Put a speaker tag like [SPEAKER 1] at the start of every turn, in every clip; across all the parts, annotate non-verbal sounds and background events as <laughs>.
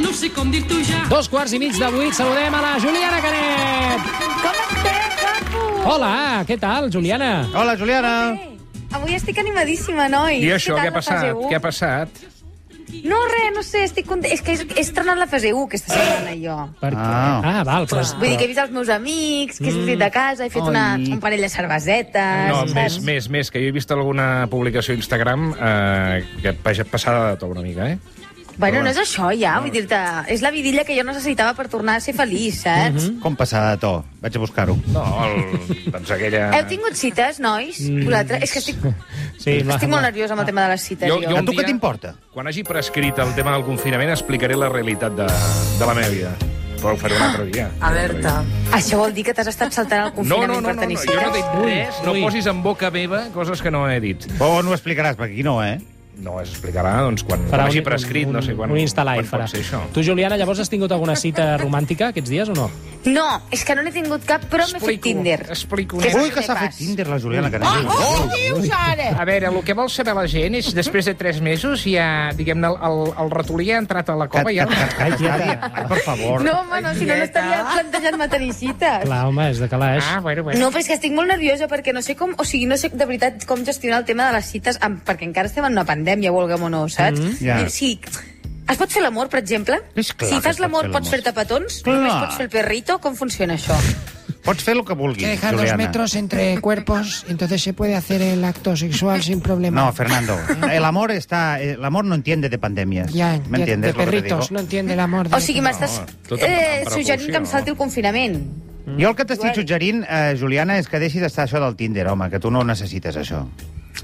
[SPEAKER 1] no sé com dir-t'ho ja.
[SPEAKER 2] Dos quarts i mig de vuit, saludem a la Juliana Canet.
[SPEAKER 3] Com estem, guapo?
[SPEAKER 2] Hola, què tal, Juliana?
[SPEAKER 4] Hola, Juliana.
[SPEAKER 3] Bé, Avui estic animadíssima, noi.
[SPEAKER 5] I això, què ha
[SPEAKER 3] tal la fase
[SPEAKER 5] passat?
[SPEAKER 3] u?
[SPEAKER 5] Què ha passat?
[SPEAKER 3] No, res, no sé, estic content. És que he, he estrenat la fase 1 aquesta setmana, jo.
[SPEAKER 2] Per què?
[SPEAKER 4] Ah.
[SPEAKER 2] ah val, però...
[SPEAKER 3] Vull dir que he vist els meus amics, que he sortit de casa, he fet una,
[SPEAKER 4] Ai.
[SPEAKER 3] un parell de cervesetes...
[SPEAKER 5] Mm. No,
[SPEAKER 3] saps?
[SPEAKER 5] més, més, més, que jo he vist alguna publicació a Instagram eh, que pa- passada de tot una mica, eh?
[SPEAKER 3] Bueno, no és això, ja, vull dir-te... És la vidilla que jo necessitava per tornar a ser feliç, saps?
[SPEAKER 5] Mhm.
[SPEAKER 4] Com passar de to? Vaig a buscar-ho.
[SPEAKER 5] No, el, doncs aquella...
[SPEAKER 3] Heu tingut cites, nois?
[SPEAKER 5] Mm.
[SPEAKER 3] Vosaltres? És que
[SPEAKER 5] <laughs>
[SPEAKER 3] estic,
[SPEAKER 2] Sí, va,
[SPEAKER 3] estic molt
[SPEAKER 2] va.
[SPEAKER 3] nerviosa amb el tema de les cites,
[SPEAKER 5] Jo-
[SPEAKER 3] jo.
[SPEAKER 5] jo
[SPEAKER 4] A
[SPEAKER 5] un
[SPEAKER 4] tu què
[SPEAKER 5] dia-
[SPEAKER 4] t'importa?
[SPEAKER 5] Quan hagi prescrit el tema del confinament explicaré la realitat de, de la meva vida. Però ho faré un altre dia.
[SPEAKER 6] Alerta.
[SPEAKER 3] Això vol dir que t'has estat saltant el
[SPEAKER 5] No,
[SPEAKER 3] confinament
[SPEAKER 5] no, no,
[SPEAKER 3] per
[SPEAKER 5] no,
[SPEAKER 3] tenir
[SPEAKER 5] no, jo
[SPEAKER 3] cites?
[SPEAKER 5] no dic res, no
[SPEAKER 2] Ui, ui.
[SPEAKER 5] posis en boca meva coses que no he dit.
[SPEAKER 4] O Oh, no ho explicaràs, perquè aquí no, eh?
[SPEAKER 5] No, es explicarà doncs, quan
[SPEAKER 2] Farà
[SPEAKER 5] Farà hagi
[SPEAKER 2] un-
[SPEAKER 5] prescrit,
[SPEAKER 2] un,
[SPEAKER 5] no sé quan,
[SPEAKER 2] Un Insta Live
[SPEAKER 5] quan
[SPEAKER 2] farà.
[SPEAKER 5] pot ser això.
[SPEAKER 2] Tu, Juliana, llavors has tingut alguna cita romàntica aquests dies o no?
[SPEAKER 3] No, és que no n'he tingut cap, però m'he fet
[SPEAKER 5] Explico,
[SPEAKER 3] Tinder.
[SPEAKER 5] explico.
[SPEAKER 3] és el
[SPEAKER 4] Ui, que
[SPEAKER 3] primer
[SPEAKER 4] s'ha
[SPEAKER 3] pas.
[SPEAKER 4] fet Tinder, la Juliana
[SPEAKER 7] Ah,
[SPEAKER 4] Canet. Oh, oh!
[SPEAKER 5] A veure, el que vol saber la gent és, després de tres mesos, ja, diguem-ne, el, el, el ratolí ha entrat a la cova i ja...
[SPEAKER 4] Ai, tieta. Ai, per favor.
[SPEAKER 3] No, home, no, si no, no estaria plantejant-me tenir cites.
[SPEAKER 2] Clar, home, és de calaix.
[SPEAKER 5] Ah, bueno, bueno.
[SPEAKER 3] No, però és que estic molt nerviosa perquè no sé com... O sigui, no sé de veritat com gestionar el tema de les cites amb, perquè encara estem en una pandèmia, vulguem o no, saps? Mm
[SPEAKER 4] ja.
[SPEAKER 3] Sí, es pot fer l'amor, per exemple?
[SPEAKER 4] És clar
[SPEAKER 3] si
[SPEAKER 4] que es
[SPEAKER 3] fas
[SPEAKER 4] pot
[SPEAKER 3] l'amor
[SPEAKER 4] fer
[SPEAKER 3] pots
[SPEAKER 4] l'amor.
[SPEAKER 3] fer-te petons?
[SPEAKER 4] Clar.
[SPEAKER 3] Només pots fer el perrito? Com funciona això?
[SPEAKER 4] Pots fer el que vulguis,
[SPEAKER 7] Que dejan dos
[SPEAKER 4] Juliana.
[SPEAKER 7] metros entre cuerpos, entonces se puede hacer el acto sexual sin problema.
[SPEAKER 4] No, Fernando, el amor está, el amor no entiende de pandemias.
[SPEAKER 7] ya,
[SPEAKER 4] ¿Me
[SPEAKER 7] ya,
[SPEAKER 4] entiendes
[SPEAKER 7] de
[SPEAKER 4] lo que te
[SPEAKER 7] perritos,
[SPEAKER 4] digo?
[SPEAKER 7] no entiende el amor. de-
[SPEAKER 3] O sigui, m'estàs
[SPEAKER 5] tu tampoc em
[SPEAKER 3] eh,
[SPEAKER 5] preocupis,
[SPEAKER 3] suggerint que em
[SPEAKER 5] no?
[SPEAKER 3] salti el confinament.
[SPEAKER 4] Jo el que t'estic
[SPEAKER 3] Joan.
[SPEAKER 4] suggerint, eh, Juliana, és que deixi d'estar això del Tinder, home, que tu no ho necessites, això.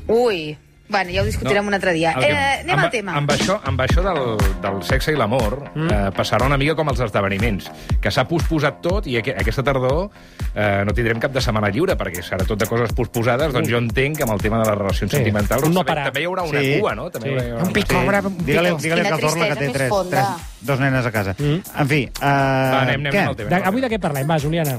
[SPEAKER 3] Ui, bueno, ja ho discutirem un altre dia.
[SPEAKER 5] El que-
[SPEAKER 3] Eh, anem
[SPEAKER 5] amb,
[SPEAKER 3] al tema.
[SPEAKER 5] Amb això, amb això del, del sexe i l'amor, mm. eh, passarà una mica com els esdeveniments, que s'ha posposat tot i aqu aquesta tardor eh, no tindrem cap de setmana lliure, perquè serà tot de coses posposades, doncs jo entenc que amb el tema de les relacions
[SPEAKER 2] Sí.
[SPEAKER 5] sentimentals doncs
[SPEAKER 2] Un no
[SPEAKER 5] també,
[SPEAKER 2] parar.
[SPEAKER 5] també hi haurà una
[SPEAKER 4] Sí.
[SPEAKER 5] cua, no? També
[SPEAKER 2] Sí.
[SPEAKER 5] hi haurà
[SPEAKER 7] Un
[SPEAKER 5] una-
[SPEAKER 7] pico, bravo, un
[SPEAKER 4] Digue-li
[SPEAKER 7] pico. Mm.
[SPEAKER 4] digue-li
[SPEAKER 3] Quina
[SPEAKER 4] al Torra que té
[SPEAKER 3] tristesa més
[SPEAKER 4] tres,
[SPEAKER 3] fonda.
[SPEAKER 4] tres, dos nenes a casa. En fi, eh,
[SPEAKER 5] Va, anem, anem,
[SPEAKER 4] què?
[SPEAKER 5] al tema.
[SPEAKER 2] De, avui de què parlem? Va, Juliana.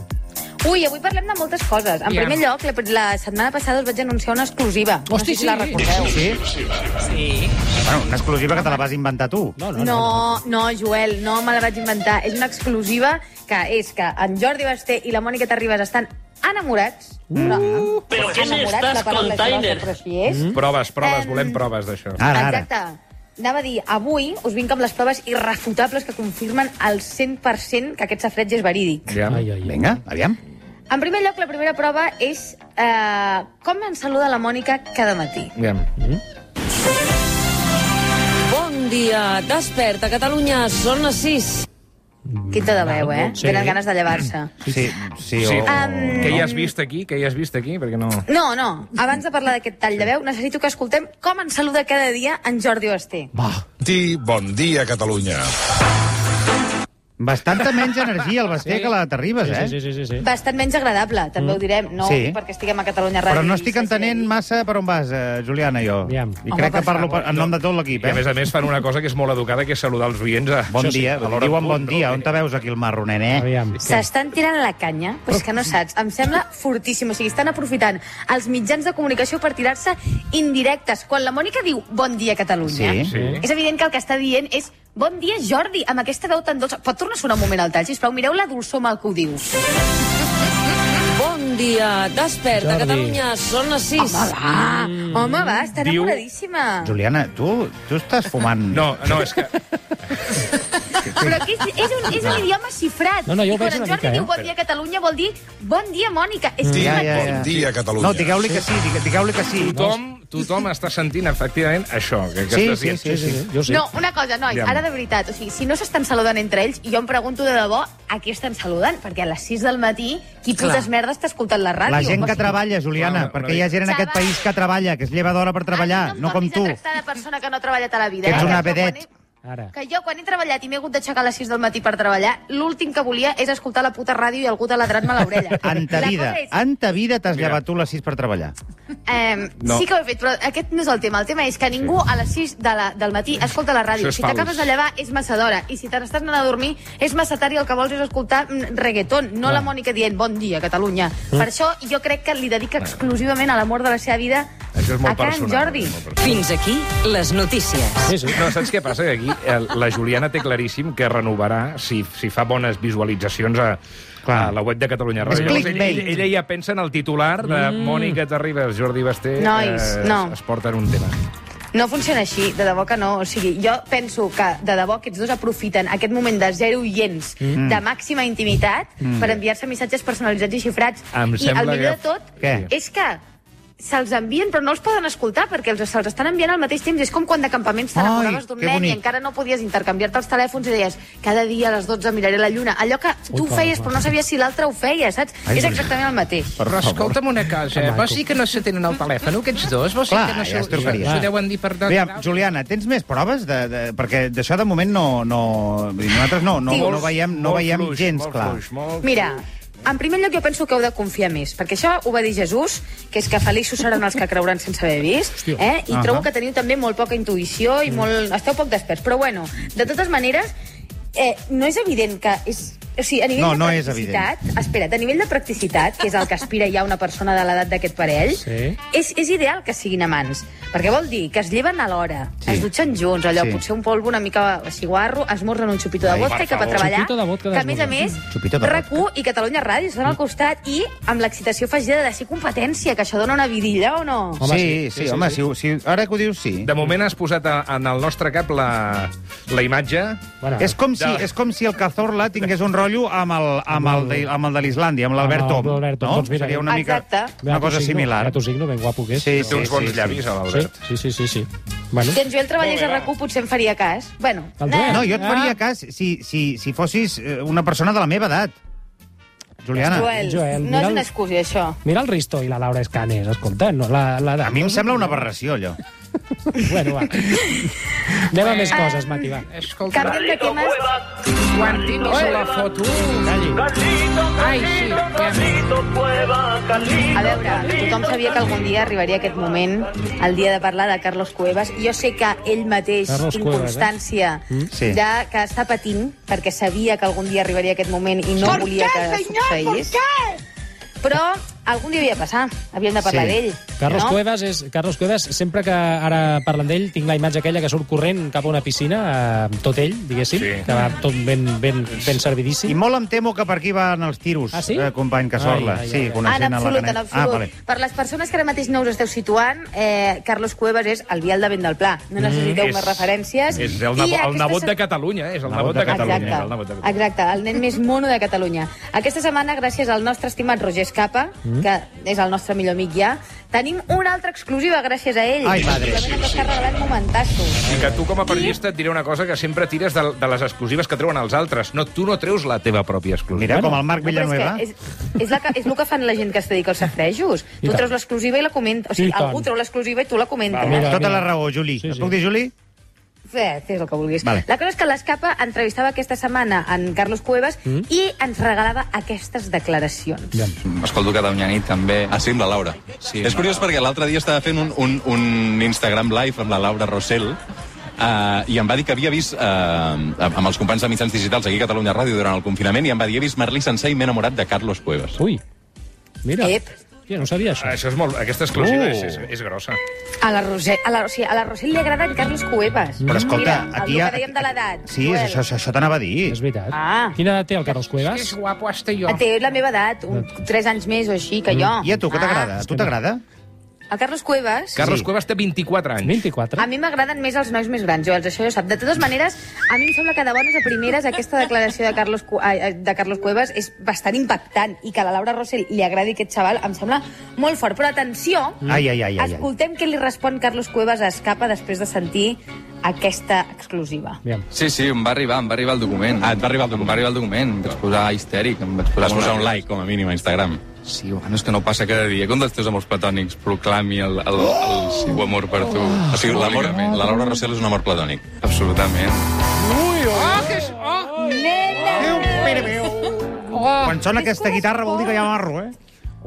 [SPEAKER 3] Ui, avui parlem de moltes coses. En
[SPEAKER 5] Ja.
[SPEAKER 3] primer lloc, la, la setmana passada us vaig anunciar una exclusiva. no
[SPEAKER 2] Hosti,
[SPEAKER 3] sé si la
[SPEAKER 2] sí.
[SPEAKER 3] recordeu.
[SPEAKER 4] Sí? Bueno, una exclusiva que te la vas inventar tu.
[SPEAKER 2] No, no, no.
[SPEAKER 3] No, no, Joel, no me la vaig inventar. És una exclusiva que és que en Jordi Basté i la Mònica Terribas estan enamorats. Però,
[SPEAKER 8] Però què
[SPEAKER 3] enamorats,
[SPEAKER 8] m'estàs
[SPEAKER 3] la paraula és grossa,
[SPEAKER 8] container?
[SPEAKER 3] Però així és.
[SPEAKER 5] Proves, proves,
[SPEAKER 3] Em, Ah.
[SPEAKER 5] volem proves d'això.
[SPEAKER 4] Ara, ara.
[SPEAKER 3] Exacte. Anava a dir, avui us vinc amb les proves irrefutables que confirmen al 100% que aquest safreig és verídic.
[SPEAKER 5] Ja.
[SPEAKER 2] Ai, ai, ai.
[SPEAKER 4] Vinga, aviam.
[SPEAKER 3] En primer lloc, la primera prova és eh, com ens saluda la Mònica cada matí.
[SPEAKER 5] Ja.
[SPEAKER 6] Bon dia, desperta, Catalunya, són les 6.
[SPEAKER 3] Quinta de veu, eh?
[SPEAKER 2] Sí.
[SPEAKER 3] Tenen ganes de llevar-se.
[SPEAKER 4] Sí, sí,
[SPEAKER 5] Sí.
[SPEAKER 4] o...
[SPEAKER 3] Em,
[SPEAKER 5] Què hi has vist aquí? Què hi has vist aquí? Perquè no...
[SPEAKER 3] No, no. Abans de parlar d'aquest tall de veu, necessito que escoltem com ens saluda cada dia en Jordi Basté.
[SPEAKER 9] Ti, bon dia, Catalunya.
[SPEAKER 4] Bastanta menys energia el Basté
[SPEAKER 2] Sí.
[SPEAKER 4] que la Terribas, eh?
[SPEAKER 2] Sí, sí, sí, sí, sí.
[SPEAKER 3] Bastant menys agradable, també ho direm. No
[SPEAKER 4] Mm. Sí.
[SPEAKER 3] perquè estiguem a Catalunya Ràdio.
[SPEAKER 4] Però no
[SPEAKER 3] i
[SPEAKER 4] estic
[SPEAKER 3] s'hagi
[SPEAKER 4] entenent
[SPEAKER 3] de dir.
[SPEAKER 4] massa per on vas, eh, Juliana, jo.
[SPEAKER 2] Aviam.
[SPEAKER 4] I
[SPEAKER 3] Home, doncs
[SPEAKER 4] crec que
[SPEAKER 3] per
[SPEAKER 4] parlo
[SPEAKER 3] favor.
[SPEAKER 4] per, en nom de tot l'equip,
[SPEAKER 5] I a
[SPEAKER 4] eh?
[SPEAKER 5] més a més fan una cosa que és molt educada, que és saludar els oients a...
[SPEAKER 4] Bon
[SPEAKER 5] Això sí,
[SPEAKER 4] dia,
[SPEAKER 5] a l'hora
[SPEAKER 4] diuen
[SPEAKER 5] en
[SPEAKER 4] bon
[SPEAKER 5] punt,
[SPEAKER 4] dia.
[SPEAKER 5] no?
[SPEAKER 4] On te veus, aquí, el marron, eh?
[SPEAKER 2] Aviam.
[SPEAKER 3] S'estan tirant la canya, però és que no saps. Em sembla fortíssim. O sigui, estan aprofitant els mitjans de comunicació per tirar-se indirectes. Quan la Mònica diu bon dia, Catalunya,
[SPEAKER 4] Sí.
[SPEAKER 5] Sí.
[SPEAKER 3] és evident que el que està dient és bon dia, Jordi, amb aquesta veu tan dolça. Pot tornar a sonar un moment al tall, sisplau? Mireu la dolçor mal que ho diu.
[SPEAKER 6] Bon dia, desperta,
[SPEAKER 2] Jordi.
[SPEAKER 6] Catalunya, són les 6.
[SPEAKER 3] Home, va! Home, va, està
[SPEAKER 5] Diu-
[SPEAKER 3] enamoradíssima.
[SPEAKER 4] Juliana, tu, tu estàs fumant...
[SPEAKER 5] No, no, és que...
[SPEAKER 3] Però que és, és, un, és un idioma xifrat.
[SPEAKER 2] No, no, jo ho
[SPEAKER 3] I quan
[SPEAKER 2] veig
[SPEAKER 3] en
[SPEAKER 2] una
[SPEAKER 3] Jordi
[SPEAKER 2] mica, eh?
[SPEAKER 3] diu bon dia Catalunya vol dir bon dia Mònica. És que
[SPEAKER 4] Mm. Ja,
[SPEAKER 3] és
[SPEAKER 4] ja, ja.
[SPEAKER 9] Bon dia, Catalunya.
[SPEAKER 4] No, digueu-li que sí, digue- digueu-li que sí.
[SPEAKER 5] Tothom, tothom està sentint, efectivament, això. Que que
[SPEAKER 4] Sí,
[SPEAKER 5] estàs
[SPEAKER 4] sí,
[SPEAKER 5] dient.
[SPEAKER 4] sí, sí. sí.
[SPEAKER 2] Jo sí.
[SPEAKER 3] No, una cosa, nois,
[SPEAKER 5] Aviam.
[SPEAKER 3] ara de veritat, o sigui, si no s'estan saludant entre ells, jo em pregunto de debò a qui estan saludant, perquè a les 6 del matí qui putes merda està escoltant la ràdio. Doncs,
[SPEAKER 4] La gent
[SPEAKER 3] O
[SPEAKER 4] que
[SPEAKER 3] sigui,
[SPEAKER 4] treballa, Juliana,
[SPEAKER 5] Clar,
[SPEAKER 4] perquè
[SPEAKER 5] una
[SPEAKER 4] hi ha gent en
[SPEAKER 3] mica.
[SPEAKER 4] aquest país que treballa, que es lleva d'hora per
[SPEAKER 3] a
[SPEAKER 4] treballar,
[SPEAKER 3] mi
[SPEAKER 4] no com
[SPEAKER 3] em
[SPEAKER 4] tu.
[SPEAKER 3] facis a tractar de persona que no ha treballat a la vida.
[SPEAKER 4] Que ets
[SPEAKER 3] eh?
[SPEAKER 4] una
[SPEAKER 3] jo quan
[SPEAKER 4] vedet.
[SPEAKER 2] Ara.
[SPEAKER 3] he- Que jo, quan he treballat i m'he hagut d'aixecar a les 6 del matí per treballar, l'últim que volia és escoltar la puta ràdio i algú taladrant-me a l'orella.
[SPEAKER 4] En ta
[SPEAKER 3] La
[SPEAKER 4] vida, Ah,
[SPEAKER 3] cosa és-
[SPEAKER 4] en ta vida t'has
[SPEAKER 5] Mira.
[SPEAKER 4] llevat tu a les 6 per treballar.
[SPEAKER 3] Eh,
[SPEAKER 5] No.
[SPEAKER 3] Sí que ho he fet, però aquest no és el tema. El tema és que ningú a les 6 de la, del matí escolta la
[SPEAKER 5] Això
[SPEAKER 3] ràdio.
[SPEAKER 5] és
[SPEAKER 3] Si
[SPEAKER 5] fals.
[SPEAKER 3] t'acabes de llevar és massa d'hora. I si te n'estàs anant a dormir és massa tard i el que vols és escoltar mm, reggaeton, no la
[SPEAKER 5] Mm.
[SPEAKER 3] Mònica dient bon dia, Catalunya. Per això jo crec que li dedica exclusivament a l'amor de la seva vida
[SPEAKER 5] això és molt
[SPEAKER 3] A Can
[SPEAKER 5] personal.
[SPEAKER 3] Jordi.
[SPEAKER 5] és molt personal.
[SPEAKER 6] Fins aquí les notícies.
[SPEAKER 2] Sí, sí.
[SPEAKER 5] No, saps què passa? Que aquí eh, la Juliana té claríssim que renovarà si, si fa bones visualitzacions a, a
[SPEAKER 4] Clar.
[SPEAKER 5] la web de Catalunya
[SPEAKER 4] És
[SPEAKER 5] Ràdio. Llavors, ella,
[SPEAKER 4] clickbait. Mm.
[SPEAKER 5] ella, ella ja pensa en el titular de Mònica Terribas, Jordi Basté,
[SPEAKER 3] Nois,
[SPEAKER 5] eh,
[SPEAKER 3] no.
[SPEAKER 5] es porten un tema.
[SPEAKER 3] No funciona així, de debò que no. O sigui, jo penso que de debò aquests dos aprofiten aquest moment de zero oients, mm. de màxima intimitat, mm. per enviar-se missatges personalitzats i xifrats.
[SPEAKER 5] Em
[SPEAKER 3] I el
[SPEAKER 5] sembla
[SPEAKER 3] millor
[SPEAKER 5] que-
[SPEAKER 3] de tot
[SPEAKER 4] Què?
[SPEAKER 3] és que se'ls envien però no els poden escoltar perquè els, se'ls estan enviant al mateix temps. És com quan d'acampaments te
[SPEAKER 4] Ai,
[SPEAKER 3] n'acordaves d'un
[SPEAKER 4] que
[SPEAKER 3] nen i
[SPEAKER 4] bonic.
[SPEAKER 3] encara no podies intercanviar-te els telèfons i deies cada dia a les 12 miraré la lluna. Allò que tu ho feies però no sabies si l'altre ho feia, saps?
[SPEAKER 4] Ai,
[SPEAKER 3] és
[SPEAKER 4] Julià.
[SPEAKER 3] exactament el mateix.
[SPEAKER 4] Per
[SPEAKER 1] Però
[SPEAKER 4] favor.
[SPEAKER 1] escolta'm una cosa, vos sí que no se tenen el telèfon, aquests dos? Vos sí
[SPEAKER 4] Clar,
[SPEAKER 1] que no
[SPEAKER 4] ja es trucaria.
[SPEAKER 1] S'ho deuen dir per no...
[SPEAKER 4] Aviam, Juliana, tens més proves? De, de, perquè d'això de moment no... no vull dir, nosaltres no, no,
[SPEAKER 3] Dius.
[SPEAKER 4] no veiem, no
[SPEAKER 5] Molt
[SPEAKER 4] veiem
[SPEAKER 5] fluix,
[SPEAKER 4] gens
[SPEAKER 5] molt
[SPEAKER 4] clar.
[SPEAKER 5] Fluix, molt...
[SPEAKER 3] Mira, en primer lloc jo penso que heu de confiar més, perquè això ho va dir Jesús, que és que feliços seran els que creuran sense haver vist, eh? i
[SPEAKER 4] Ahà. Mm.
[SPEAKER 3] trobo que teniu també molt poca intuïció i molt... esteu poc desperts, però bueno, de totes maneres, eh, no és evident que és... O sigui, a nivell
[SPEAKER 4] No,
[SPEAKER 3] de
[SPEAKER 4] no és
[SPEAKER 3] practicitat, espera't, a nivell de practicitat, que és el que aspira ja una persona de l'edat d'aquest parell,
[SPEAKER 2] Sí.
[SPEAKER 3] és, és ideal que siguin amants, perquè vol dir que es lleven a l'hora,
[SPEAKER 4] Sí.
[SPEAKER 3] es dutxen junts, allò,
[SPEAKER 4] Sí.
[SPEAKER 3] potser un polvo una mica així guarro, esmorzen un xupito de
[SPEAKER 5] Ai,
[SPEAKER 3] vodka
[SPEAKER 5] per
[SPEAKER 3] i cap a
[SPEAKER 5] favor.
[SPEAKER 3] treballar,
[SPEAKER 2] Xupito de vodka
[SPEAKER 3] que a més a
[SPEAKER 2] d'esmorzar.
[SPEAKER 3] més,
[SPEAKER 4] Xupito de Mm.
[SPEAKER 3] RAC1 i Catalunya Ràdio estan al costat i amb l'excitació afegida de ser competència, que això dona una vidilla o no?
[SPEAKER 4] Home, sí, sí, sí, home, sí, Si, si, ara que ho dius, sí.
[SPEAKER 5] De moment has posat a, en el nostre cap la, la imatge.
[SPEAKER 2] Bueno,
[SPEAKER 4] És com, si,
[SPEAKER 5] de-
[SPEAKER 4] és com si el Cazorla tingués un rotllo amb el, amb el, de, amb el de l'Islàndia, amb l'Albert
[SPEAKER 2] Amb el
[SPEAKER 4] Tom.
[SPEAKER 2] d'Albert Om,
[SPEAKER 4] No?
[SPEAKER 2] doncs mira,
[SPEAKER 4] Seria una mica
[SPEAKER 3] Exacte.
[SPEAKER 4] una
[SPEAKER 2] Beato
[SPEAKER 4] cosa
[SPEAKER 2] signo,
[SPEAKER 4] similar.
[SPEAKER 2] Beato signo, ben guapo que és.
[SPEAKER 4] Sí,
[SPEAKER 5] Té uns bons llavis, a l'Albert.
[SPEAKER 2] Sí, sí, sí, sí. Bueno,
[SPEAKER 3] Si en Joel treballés a
[SPEAKER 5] Molt bé,
[SPEAKER 3] RAC1 potser em faria cas. Bueno,
[SPEAKER 2] El
[SPEAKER 3] eh,
[SPEAKER 2] Joel?
[SPEAKER 4] No, jo et
[SPEAKER 2] Ah.
[SPEAKER 4] faria cas si, si, si fossis eh, una persona de la meva edat. Juliana,
[SPEAKER 3] Joel,
[SPEAKER 2] Joel,
[SPEAKER 3] no és
[SPEAKER 2] mira'l.
[SPEAKER 3] una excusa, això.
[SPEAKER 2] mira el Risto i la Laura Escanes, escolta, no, la,
[SPEAKER 3] eh.
[SPEAKER 2] la
[SPEAKER 4] a mi em sembla una aberració, allò.
[SPEAKER 2] <laughs> Bueno, va. Anem a més coses, Mati, va.
[SPEAKER 1] Escolta,
[SPEAKER 3] Canviem de temes...
[SPEAKER 1] quan tinguis la foto... Ai, sí, ja
[SPEAKER 3] A veure, tothom sabia que algun dia arribaria aquest moment, el dia de parlar de Carlos Cuevas. Jo sé que ell mateix
[SPEAKER 2] Carlos
[SPEAKER 3] tinc
[SPEAKER 2] Cuevas, eh?
[SPEAKER 3] constància
[SPEAKER 4] Sí.
[SPEAKER 3] de que està patint perquè sabia que algun dia arribaria aquest moment i no volia que succeís. Però algun dia havia de passar, havíem de parlar
[SPEAKER 4] Sí.
[SPEAKER 3] d'ell.
[SPEAKER 2] Carlos
[SPEAKER 3] no?
[SPEAKER 2] Cuevas és... Carlos Cuevas, sempre que ara parlen d'ell, tinc la imatge aquella que surt corrent cap a una piscina, eh, tot ell, diguéssim,
[SPEAKER 5] Sí.
[SPEAKER 2] que va tot ben, ben, ben servidíssim.
[SPEAKER 4] I molt em temo que per aquí van els tiros,
[SPEAKER 2] Ah, sí?
[SPEAKER 4] eh, company Casorla.
[SPEAKER 2] Ai, ai,
[SPEAKER 4] Sí,
[SPEAKER 2] ai.
[SPEAKER 4] coneixent
[SPEAKER 3] en
[SPEAKER 4] a la
[SPEAKER 3] absolut, en
[SPEAKER 4] Canet.
[SPEAKER 3] absolut.
[SPEAKER 4] Ah, vale.
[SPEAKER 3] Per les persones que ara mateix no us esteu situant, eh, Carlos Cuevas és el vial de vent del Pla. No necessiteu
[SPEAKER 5] És-
[SPEAKER 3] més referències. I
[SPEAKER 5] És el, nebo, el
[SPEAKER 3] aquesta
[SPEAKER 5] nebot
[SPEAKER 3] se-
[SPEAKER 5] de Catalunya, eh? és el nebot de Catalunya.
[SPEAKER 3] Exacte,
[SPEAKER 5] El nebot de Catalunya.
[SPEAKER 3] exacte, el nen més mono de Catalunya. Aquesta setmana, gràcies al nostre estimat Roger Escapa, mm. que és el nostre millor amic ja, tenim una altra exclusiva gràcies a ell.
[SPEAKER 4] Ai, madre.
[SPEAKER 3] Simplement ens està regalant momentassos.
[SPEAKER 5] I que tu, com a periodista, et diré una cosa que sempre tires de, de les exclusives que treuen els altres. No, tu no treus la teva pròpia exclusiva.
[SPEAKER 4] Mira, com el Marc
[SPEAKER 3] però
[SPEAKER 4] Villanueva.
[SPEAKER 3] És, que és, és, la que, és el que fan la gent que es dedica als safrejos. tu
[SPEAKER 2] tant.
[SPEAKER 3] treus l'exclusiva i la comenta. O sigui,
[SPEAKER 2] I tant.
[SPEAKER 3] algú treu l'exclusiva i tu la comentes.
[SPEAKER 2] Va, mira.
[SPEAKER 4] Tota la raó, Juli.
[SPEAKER 2] Sí, sí.
[SPEAKER 4] Et puc dir, Juli?
[SPEAKER 3] Fes fes el que vulguis.
[SPEAKER 4] Vale.
[SPEAKER 3] La cosa és que l'Escapa entrevistava aquesta setmana en Carlos Cuevas i ens regalava aquestes declaracions.
[SPEAKER 2] Ja.
[SPEAKER 8] Escolto Catalunya Nit també.
[SPEAKER 10] Ah, sí, amb la Laura.
[SPEAKER 8] Sí,
[SPEAKER 10] Sí,
[SPEAKER 8] amb
[SPEAKER 10] és
[SPEAKER 8] la
[SPEAKER 10] curiós perquè l'altre dia estava fent un, un, un Instagram live amb la Laura Rossell Uh, i em va dir que havia vist uh, amb els companys de mitjans digitals aquí a Catalunya Ràdio durant el confinament i em va dir he vist Merlí sencer i m'he enamorat de Carlos Cuevas.
[SPEAKER 2] Ui, mira.
[SPEAKER 3] Ep.
[SPEAKER 2] Ja, no sabia això.
[SPEAKER 4] Ah,
[SPEAKER 5] Això és molt... Aquesta exclusiva
[SPEAKER 4] Uh.
[SPEAKER 5] és, és, és grossa.
[SPEAKER 3] A la Roser, a la, o sigui, a la Roser li agrada en Carlos Cuevas.
[SPEAKER 4] Però escolta,
[SPEAKER 3] Mira,
[SPEAKER 4] aquí...
[SPEAKER 3] El
[SPEAKER 4] ha-
[SPEAKER 3] que dèiem de l'edat.
[SPEAKER 4] Sí,
[SPEAKER 3] Joel,
[SPEAKER 4] és això, això t'anava a dir.
[SPEAKER 2] És veritat.
[SPEAKER 3] Ah.
[SPEAKER 2] Quina edat té el Carlos Cuevas?
[SPEAKER 1] És guapo hasta jo.
[SPEAKER 3] Té la meva edat, un, 3 anys més o així que jo.
[SPEAKER 4] Doncs. Mm. I a tu, què t'agrada? A tu t'agrada?
[SPEAKER 3] Ah, el Carlos Cuevas...
[SPEAKER 5] Carlos
[SPEAKER 4] Sí.
[SPEAKER 5] Cuevas té 24 anys.
[SPEAKER 2] 24?
[SPEAKER 3] A mi m'agraden més els nois més grans, Joel, això jo sap. De totes maneres, a mi em sembla que de bones a primeres aquesta declaració de Carlos, Cu- ai, ai, de Carlos Cuevas és bastant impactant i que a la Laura Rossell li agradi aquest xaval em sembla molt fort. Però atenció,
[SPEAKER 4] Mm. Ai, ai, ai, ai, ai.
[SPEAKER 3] escoltem què li respon Carlos Cuevas a Escapa després de sentir aquesta exclusiva.
[SPEAKER 2] Aviam.
[SPEAKER 8] Sí, sí, em va arribar, em va arribar el document.
[SPEAKER 10] Ah, et va arribar el
[SPEAKER 8] Em
[SPEAKER 10] document.
[SPEAKER 8] va arribar el document. Em vaig posar histèric, em vaig posar...
[SPEAKER 10] Vas posar un like, com a mínim, a Instagram.
[SPEAKER 8] Sí, home, no és que no passa cada dia. Com dels teus amors platònics proclami el, el, el seu amor per tu?
[SPEAKER 10] O sigui, l'amor, la Laura Rossell és un amor platònic.
[SPEAKER 8] Absolutament.
[SPEAKER 3] Nena!
[SPEAKER 2] Oh,
[SPEAKER 4] Quan sona aquesta guitarra vol dir que hi ha marro, eh?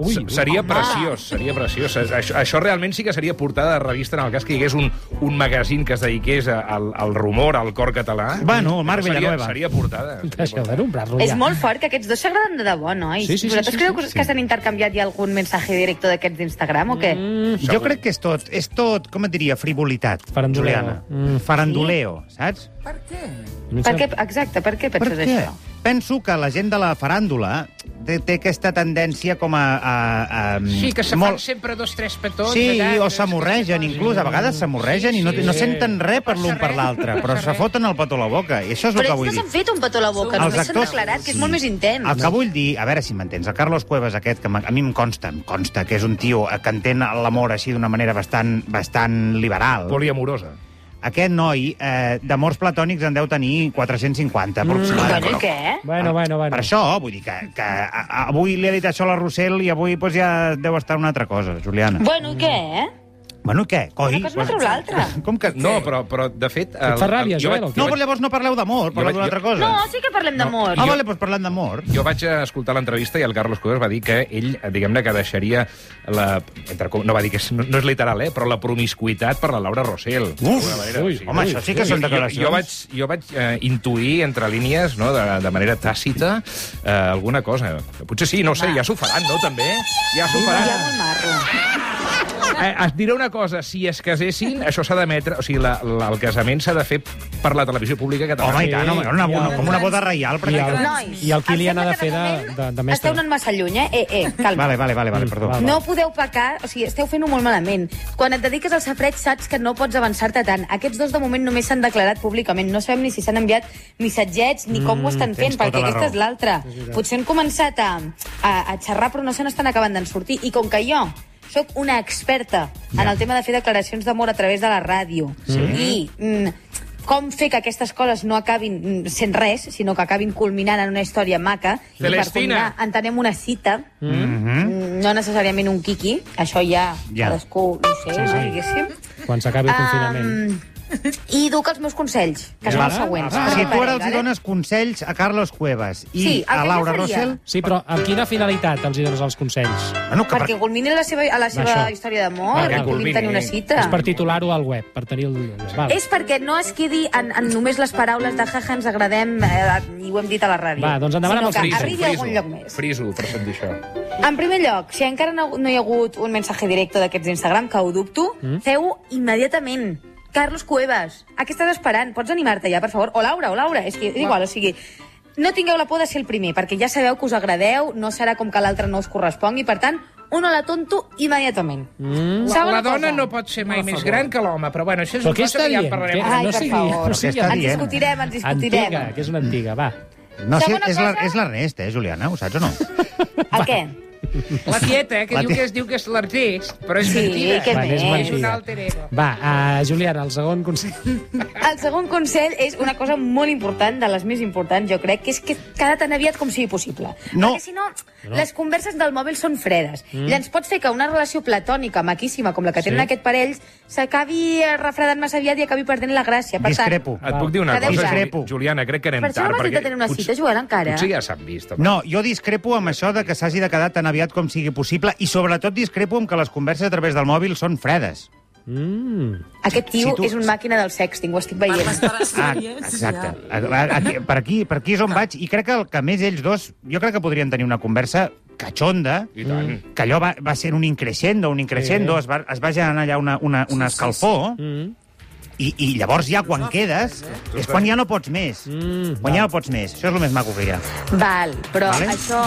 [SPEAKER 5] Ui, seria preciós, seria preciós. Això, això realment sí que seria portada de revista en el cas que hi hagués un, un magazín que es dediqués a- al, al rumor, al cor català.
[SPEAKER 4] Bueno, el Marc
[SPEAKER 5] seria,
[SPEAKER 4] Villanueva.
[SPEAKER 5] seria portada.
[SPEAKER 2] Deixeu d'enombrar-lo
[SPEAKER 3] És
[SPEAKER 2] Oh, ja.
[SPEAKER 3] molt fort que aquests dos s'agraden de debò, nois.
[SPEAKER 2] Sí, sí, sí,
[SPEAKER 3] Vosaltres
[SPEAKER 2] sí,
[SPEAKER 3] creieu
[SPEAKER 2] sí,
[SPEAKER 3] que, que s'han intercanviat ja algun mensatge directe d'aquests d'Instagram o què?
[SPEAKER 2] Mm.
[SPEAKER 4] Mm, Jo crec que és tot, és tot, com et diria, frivolitat,
[SPEAKER 2] Faranduleo.
[SPEAKER 4] Juliana.
[SPEAKER 2] Mm.
[SPEAKER 4] Faranduleo, saps?
[SPEAKER 3] Per què, exacte, per què penses
[SPEAKER 4] per què?
[SPEAKER 3] això?
[SPEAKER 4] Penso que la gent de la faràndula té, té aquesta tendència com a... a, a
[SPEAKER 1] Sí, que se fan
[SPEAKER 4] molt-
[SPEAKER 1] sempre dos, tres petons.
[SPEAKER 4] Sí,
[SPEAKER 1] allà,
[SPEAKER 4] o
[SPEAKER 1] que-
[SPEAKER 4] s'amorregen, inclús, a vegades s'amorregen i no, no senten res per l'un per l'altre, però se foten el petó a la boca, i això és el
[SPEAKER 3] Però
[SPEAKER 4] que
[SPEAKER 3] ells
[SPEAKER 4] vull
[SPEAKER 3] no
[SPEAKER 4] dir.
[SPEAKER 3] s'han fet un petó a la boca,
[SPEAKER 4] Els
[SPEAKER 3] només s'han
[SPEAKER 4] actors-
[SPEAKER 3] declarat, que és molt més intens.
[SPEAKER 4] El que vull dir, a veure si m'entens, el Carlos Cuevas aquest, que m'ha- a mi em consta, em consta que és un tio eh, que entén l'amor així d'una manera bastant, bastant liberal.
[SPEAKER 5] Poliamorosa.
[SPEAKER 4] Aquest noi eh, d'amors platònics en deu tenir 450, aproximadament.
[SPEAKER 3] Mm. Bueno, i què?
[SPEAKER 2] Bueno, bueno, bueno.
[SPEAKER 4] Per això, vull dir que, que a- a- avui li ha dit això a la Rossell i avui doncs, ja deu estar una altra cosa, Juliana.
[SPEAKER 3] Bueno, i què?
[SPEAKER 4] Bueno, què? Coi?
[SPEAKER 3] Una cosa no treu l'altra.
[SPEAKER 4] <laughs> Com que...
[SPEAKER 5] No, però, però de fet...
[SPEAKER 2] Et fa ràbia,
[SPEAKER 5] jo,
[SPEAKER 2] Joel, o
[SPEAKER 5] vaig,
[SPEAKER 2] què?
[SPEAKER 4] No,
[SPEAKER 5] jo,
[SPEAKER 4] però
[SPEAKER 5] vaig,
[SPEAKER 4] llavors no parleu d'amor, parleu
[SPEAKER 5] Jo-
[SPEAKER 4] d'una altra cosa.
[SPEAKER 3] No, sí que parlem d'amor.
[SPEAKER 4] Ah, vale, doncs parlant d'amor.
[SPEAKER 5] jo vaig eh, escoltar l'entrevista i el Carlos Cuevas va dir que ell, eh, diguem-ne, que deixaria la... Entre, com- no va dir que és, no, no és literal, eh? Però la promiscuïtat per la Laura Rossell.
[SPEAKER 4] Uf,
[SPEAKER 2] ui,
[SPEAKER 4] home, això sí que són declaracions.
[SPEAKER 5] Jo, jo vaig, jo vaig eh, intuir entre línies, no, de, de manera tàcita, eh, alguna cosa. Potser sí, no ho sé, ja s'ho faran, no, també? Ja s'ho
[SPEAKER 3] Ja
[SPEAKER 5] faran.
[SPEAKER 3] molt marro.
[SPEAKER 5] Eh, et diré una cosa, si es casessin, això s'ha d'emetre... O sigui, la, la, el casament s'ha de fer per la televisió pública
[SPEAKER 4] Home,
[SPEAKER 5] catalana.
[SPEAKER 4] i tant, home, una, una, com una boda reial.
[SPEAKER 2] I
[SPEAKER 4] Perquè...
[SPEAKER 2] el-
[SPEAKER 3] Nois,
[SPEAKER 2] I el Kilian
[SPEAKER 3] em
[SPEAKER 2] ha de
[SPEAKER 3] sembla
[SPEAKER 2] fer de,
[SPEAKER 3] que
[SPEAKER 2] de, de
[SPEAKER 3] moment
[SPEAKER 2] mestre.
[SPEAKER 3] Esteu anant massa lluny, eh? Eh, eh, calma.
[SPEAKER 4] Vale, vale, vale, vale
[SPEAKER 2] Mm,
[SPEAKER 4] perdó.
[SPEAKER 2] va, va.
[SPEAKER 3] No podeu pecar, o sigui, esteu fent-ho molt malament. Quan et dediques al safreig saps que no pots avançar-te tant. Aquests dos de moment només s'han declarat públicament. No sabem ni si s'han enviat missatgets ni com ho estan
[SPEAKER 4] tens
[SPEAKER 3] fent,
[SPEAKER 4] tota
[SPEAKER 3] perquè
[SPEAKER 4] la
[SPEAKER 3] aquesta és
[SPEAKER 4] raó.
[SPEAKER 3] l'altra. Potser han començat a, a, a xerrar però no se n'estan acabant d'en sortir. I com que jo sóc una experta en el tema de fer declaracions d'amor a través de la ràdio sí. i mm, com fer que aquestes coses no acabin mm, sent res, sinó que acabin culminant en una història maca, i per
[SPEAKER 5] Celestina.
[SPEAKER 3] culminar entenem una cita,
[SPEAKER 4] Mhm.
[SPEAKER 3] Mm, no necessàriament un quiqui, això ja,
[SPEAKER 4] Ja.
[SPEAKER 3] ja. cadascú, no sé, sí, sí. diguéssim.
[SPEAKER 2] Quan s'acabi el confinament.
[SPEAKER 3] Um, I duc els meus consells, que són
[SPEAKER 2] Vale.
[SPEAKER 3] els següents.
[SPEAKER 4] Ah, si tu ara els hi
[SPEAKER 3] Vale?
[SPEAKER 4] dones consells a Carlos Cuevas i
[SPEAKER 3] Sí, el que
[SPEAKER 4] a
[SPEAKER 3] jo
[SPEAKER 4] Laura
[SPEAKER 3] faria.
[SPEAKER 4] Rossell...
[SPEAKER 2] Sí, però amb quina finalitat els hi dones els consells?
[SPEAKER 4] Bueno, que
[SPEAKER 3] Perquè
[SPEAKER 4] per...
[SPEAKER 3] culminin la seva, a la seva
[SPEAKER 2] Això.
[SPEAKER 3] història d'amor,
[SPEAKER 2] Perquè
[SPEAKER 3] perquè
[SPEAKER 5] culmini.
[SPEAKER 3] puguin tenir una cita.
[SPEAKER 2] És per titular-ho al web, per tenir el... Val.
[SPEAKER 3] És perquè no es quedi en, en només les paraules de jaja, ens agradem, eh, i ho hem dit a la ràdio.
[SPEAKER 2] Va, doncs endavant amb
[SPEAKER 3] Sinó
[SPEAKER 2] els
[SPEAKER 3] que
[SPEAKER 2] frisos,
[SPEAKER 3] arribi a algun lloc més.
[SPEAKER 5] Friso, per sentir això.
[SPEAKER 3] En primer lloc, si encara no, no hi ha hagut un mensatge directe d'aquests d'Instagram, que ho dubto, mm? feu immediatament. Carlos Cuevas, a què estàs esperant? Pots animar-te ja, per favor? O Laura, o Laura, és que és igual, o sigui... No tingueu la por de ser el primer, perquè ja sabeu que us agradeu, no serà com que l'altre no us correspongui, per tant, un hola tonto immediatament. Mm.
[SPEAKER 1] La, la dona no pot ser mai més gran que l'home, però bueno, això és
[SPEAKER 2] Però
[SPEAKER 1] una
[SPEAKER 2] què
[SPEAKER 1] cosa
[SPEAKER 2] està
[SPEAKER 1] que ja en
[SPEAKER 2] dient?
[SPEAKER 1] parlarem.
[SPEAKER 2] Què-
[SPEAKER 3] Ai,
[SPEAKER 2] no
[SPEAKER 3] per
[SPEAKER 2] sigui,
[SPEAKER 3] favor.
[SPEAKER 2] no sigui
[SPEAKER 4] Però què està
[SPEAKER 3] Ens
[SPEAKER 4] dient?
[SPEAKER 3] discutirem, ens discutirem.
[SPEAKER 2] antiga, que és una antiga, va.
[SPEAKER 4] No sé,
[SPEAKER 3] Segona
[SPEAKER 4] és la-
[SPEAKER 3] cosa-
[SPEAKER 4] és l'Ernest, eh, Juliana, ho saps o no?
[SPEAKER 3] A què?
[SPEAKER 1] La tieta, eh, que
[SPEAKER 4] La
[SPEAKER 1] diu
[SPEAKER 4] tieta.
[SPEAKER 1] que es diu que és l'artista, però és
[SPEAKER 3] Sí,
[SPEAKER 1] mentida.
[SPEAKER 3] que
[SPEAKER 2] Va,
[SPEAKER 3] més.
[SPEAKER 2] és
[SPEAKER 1] És un
[SPEAKER 2] mentida.
[SPEAKER 1] alter ego.
[SPEAKER 2] Va, uh, Juliana, el segon consell.
[SPEAKER 3] El segon consell és una cosa molt important, de les més importants, jo crec, que és que cada tan aviat com sigui possible.
[SPEAKER 4] No.
[SPEAKER 3] Perquè si no, les converses del mòbil són fredes. Mm. I ens pot fer que una relació platònica, maquíssima, com la que tenen aquest parell, s'acabi eh, refredant massa aviat i acabi perdent la gràcia. Per
[SPEAKER 4] Discrepo.
[SPEAKER 5] Et puc dir una
[SPEAKER 3] Adéu,
[SPEAKER 5] cosa,
[SPEAKER 4] Joan.
[SPEAKER 5] Juli- Juliana, crec que anem
[SPEAKER 3] Tant, per això
[SPEAKER 5] tard.
[SPEAKER 3] no m'has dit
[SPEAKER 5] perquè
[SPEAKER 3] de tenir una
[SPEAKER 5] potser-
[SPEAKER 3] cita, Joel, encara.
[SPEAKER 5] Potser ja s'han vist. home.
[SPEAKER 4] No, jo discrepo amb això de que s'hagi de quedar tan aviat com sigui possible i sobretot discrepo amb que les converses a través del mòbil són fredes.
[SPEAKER 2] Mm.
[SPEAKER 3] Aquest tio
[SPEAKER 4] Si tu-
[SPEAKER 3] és una màquina del sexting, ho estic veient.
[SPEAKER 4] Ah, exacte. A, a, aquí, per, aquí, per aquí és on vaig i crec que el que més ells dos, jo crec que podrien tenir una conversa catxonda,
[SPEAKER 5] I tant.
[SPEAKER 4] que allò va, va ser un increscendo, un increscendo, es va, es va generar allà una, una, un escalfor, i, i llavors ja quan quedes és quan ja no pots més. Quan ja no pots més. Això és el més maco que hi ha.
[SPEAKER 3] Val, però
[SPEAKER 4] Vale.
[SPEAKER 3] vale. això,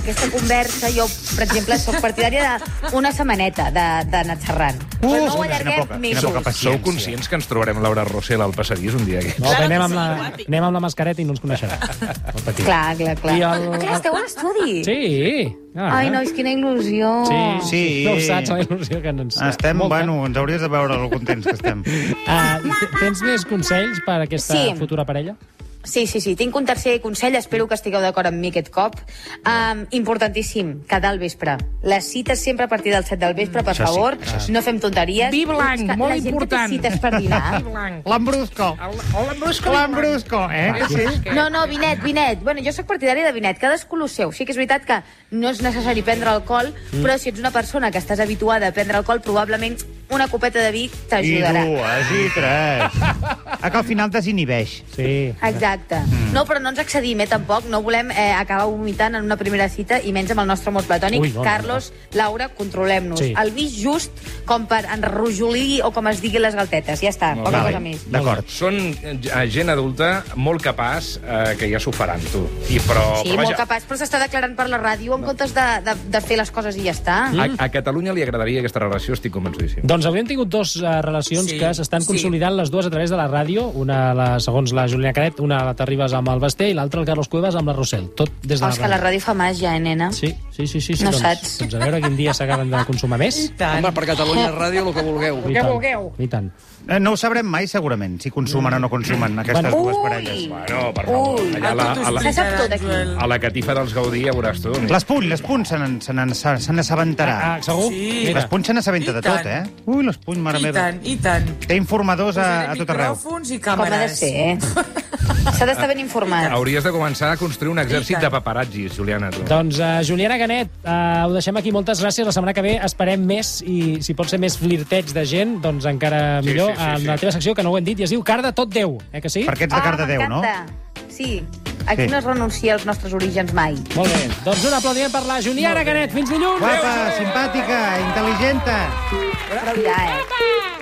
[SPEAKER 3] aquesta conversa, jo, per exemple, sóc partidària d'una setmaneta de- d'anar xerrant. però no ho
[SPEAKER 4] Uh, quina poca-
[SPEAKER 3] allarguem
[SPEAKER 4] quina poca
[SPEAKER 3] mesos.
[SPEAKER 4] paciència.
[SPEAKER 5] Sou conscients que ens trobarem Laura Rossell al passadís un dia aquest?
[SPEAKER 2] No, que anem, amb la, anem amb la mascareta i no ens coneixerà. No patiu.
[SPEAKER 3] Clar, clar, clar.
[SPEAKER 2] I el-
[SPEAKER 3] El... Clar, esteu a l'estudi.
[SPEAKER 2] Sí. Ah,
[SPEAKER 3] Ai, nois, quina il·lusió.
[SPEAKER 2] Sí.
[SPEAKER 4] Sí.
[SPEAKER 2] No ho saps, la il·lusió que ens...
[SPEAKER 4] Estem,
[SPEAKER 2] Molta.
[SPEAKER 4] bueno, ens hauries de veure el contents que estem.
[SPEAKER 2] Ah, t- tens més consells per aquesta
[SPEAKER 3] Sí.
[SPEAKER 2] futura parella?
[SPEAKER 3] Sí, sí, sí. Tinc un tercer consell, espero que estigueu d'acord amb mi aquest cop. Um, importantíssim, quedar al vespre. Les cites sempre a partir del 7 del vespre, per
[SPEAKER 4] Això sí,
[SPEAKER 3] favor.
[SPEAKER 4] això sí.
[SPEAKER 3] No fem tonteries.
[SPEAKER 1] Vi blanc,
[SPEAKER 3] Busca-
[SPEAKER 1] molt
[SPEAKER 3] la gent
[SPEAKER 1] important.
[SPEAKER 3] Que té cites per
[SPEAKER 1] <laughs>
[SPEAKER 3] dinar.
[SPEAKER 7] L'embrusco.
[SPEAKER 1] L'embrusco.
[SPEAKER 7] L'embrusco, eh?
[SPEAKER 1] Va,
[SPEAKER 7] Sí.
[SPEAKER 1] sí.
[SPEAKER 3] No, no, vinet, vinet. Bueno, jo sóc partidari de vinet, cadascú lo seu. Sí que és veritat que no és necessari prendre alcohol, mm. però si ets una persona que estàs habituada a prendre alcohol, probablement una copeta de vi
[SPEAKER 4] I
[SPEAKER 3] t'ajudarà.
[SPEAKER 4] dues, i tres. <laughs> Ah, que al final desinhibeix.
[SPEAKER 2] Sí.
[SPEAKER 3] Exacte. Mm. No, però no ens excedim, eh, tampoc. No volem eh, acabar vomitant en una primera cita i menys amb el nostre amor platònic.
[SPEAKER 2] Ui,
[SPEAKER 3] Ui,
[SPEAKER 2] no, no,
[SPEAKER 3] no, Carlos, no. Laura, controlem-nos.
[SPEAKER 2] Sí.
[SPEAKER 3] Sí. El vi just com per enrojolí o com es digui les galtetes. Ja està, poca cosa
[SPEAKER 4] Vale,
[SPEAKER 3] més.
[SPEAKER 4] d'acord.
[SPEAKER 5] Són eh, gent adulta molt capaç eh, que ja s'ho faran, tu. I, però,
[SPEAKER 3] Sí,
[SPEAKER 5] però,
[SPEAKER 3] molt capaç, però s'està declarant per la ràdio en comptes de, de, de fer les coses i ja està.
[SPEAKER 5] A, a Catalunya li agradaria aquesta relació, estic convençudíssim.
[SPEAKER 2] Doncs avui hem tingut dues eh, relacions
[SPEAKER 1] Sí,
[SPEAKER 2] que s'estan
[SPEAKER 1] sí.
[SPEAKER 2] consolidant les dues a través de la ràdio, una la, segons la Juliana Canet, una la t'arribes amb el Basté i l'altra el Carlos Cuevas amb la Rossell. Tot des de
[SPEAKER 3] Oh, és que la ràdio fa màgia, eh, nena?
[SPEAKER 2] Sí, sí, sí. sí, sí
[SPEAKER 3] No
[SPEAKER 2] doncs,
[SPEAKER 3] saps.
[SPEAKER 2] Doncs a veure quin dia s'acaben de consumar més.
[SPEAKER 1] Tant.
[SPEAKER 11] Home, per Catalunya Ràdio, el que vulgueu.
[SPEAKER 2] I tant, I tant.
[SPEAKER 4] Eh, No ho sabrem mai, segurament, si consumen o no consumen aquestes
[SPEAKER 2] Bueno.
[SPEAKER 4] dues
[SPEAKER 3] Ui.
[SPEAKER 4] parelles.
[SPEAKER 5] Bueno, per favor,
[SPEAKER 3] Ui,
[SPEAKER 5] allà a la, a la,
[SPEAKER 3] Se sap tot aquí.
[SPEAKER 5] a la catifa dels Gaudí ja veuràs tu. on és.
[SPEAKER 4] L'espull, l'espull se n'en- se n'en- se- se n'assabentarà.
[SPEAKER 2] Ah, segur?
[SPEAKER 1] Sí.
[SPEAKER 2] Mira,
[SPEAKER 4] L'espuny se n'assabenta
[SPEAKER 1] I
[SPEAKER 4] de tot, eh?
[SPEAKER 1] tant.
[SPEAKER 4] Ui, l'espuny, mare
[SPEAKER 1] I
[SPEAKER 4] meva.
[SPEAKER 1] tant, i tant.
[SPEAKER 4] Té informadors a, a tot arreu.
[SPEAKER 1] Micròfons i
[SPEAKER 3] Com
[SPEAKER 1] càmeres.
[SPEAKER 3] ha de ser, eh? S'ha d'estar ben informat.
[SPEAKER 5] Hauries de començar a construir un exèrcit
[SPEAKER 1] tant.
[SPEAKER 5] de paparazzis, Juliana. Tu.
[SPEAKER 2] Doncs uh, Juliana Ganet, uh, ho deixem aquí. Moltes gràcies. La setmana que ve esperem més i si pot ser més flirteig de gent, doncs encara
[SPEAKER 5] Sí,
[SPEAKER 2] millor. eh,
[SPEAKER 5] sí, sí,
[SPEAKER 2] en
[SPEAKER 5] sí.
[SPEAKER 2] la teva secció, que no ho hem dit, i es diu Carda tot Déu, eh que sí?
[SPEAKER 4] Per aquests de Cardedeu, no?
[SPEAKER 3] Ah, m'encanta. Sí, aquí
[SPEAKER 4] Sí.
[SPEAKER 3] no es renuncia als nostres orígens mai.
[SPEAKER 2] Molt bé. Doncs un aplaudiment per la Juliana Ganet. Fins dilluns.
[SPEAKER 4] Guapa, simpàtica, intel·ligenta.
[SPEAKER 3] Però ja, eh?